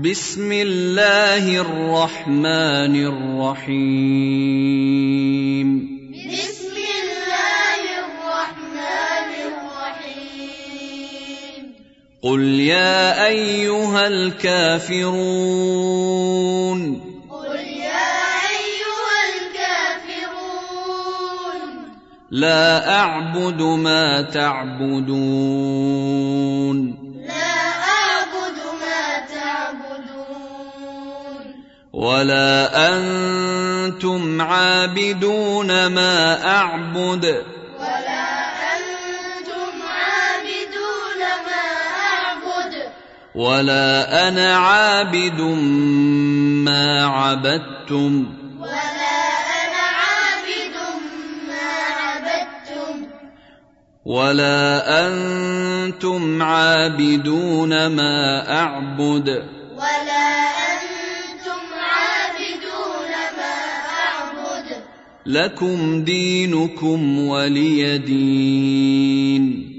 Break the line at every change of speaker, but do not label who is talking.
بسم الله الرحمن الرحيم
بسم الله الرحمن الرحيم
قل يا ايها الكافرون
قل يا أيها الكافرون
لا اعبد ما تعبدون
لا أعبد ما تعبدون
ولا انتم عابدون ما اعبد
ولا أنتم عابدون ما أعبد
ولا انا عابد ما عبدتم
ولا أنا عابد ما عبدتم
ولا انتم عابدون ما اعبد
ولا أنتم عابدون ما أعبد
لكم دينكم ولي دين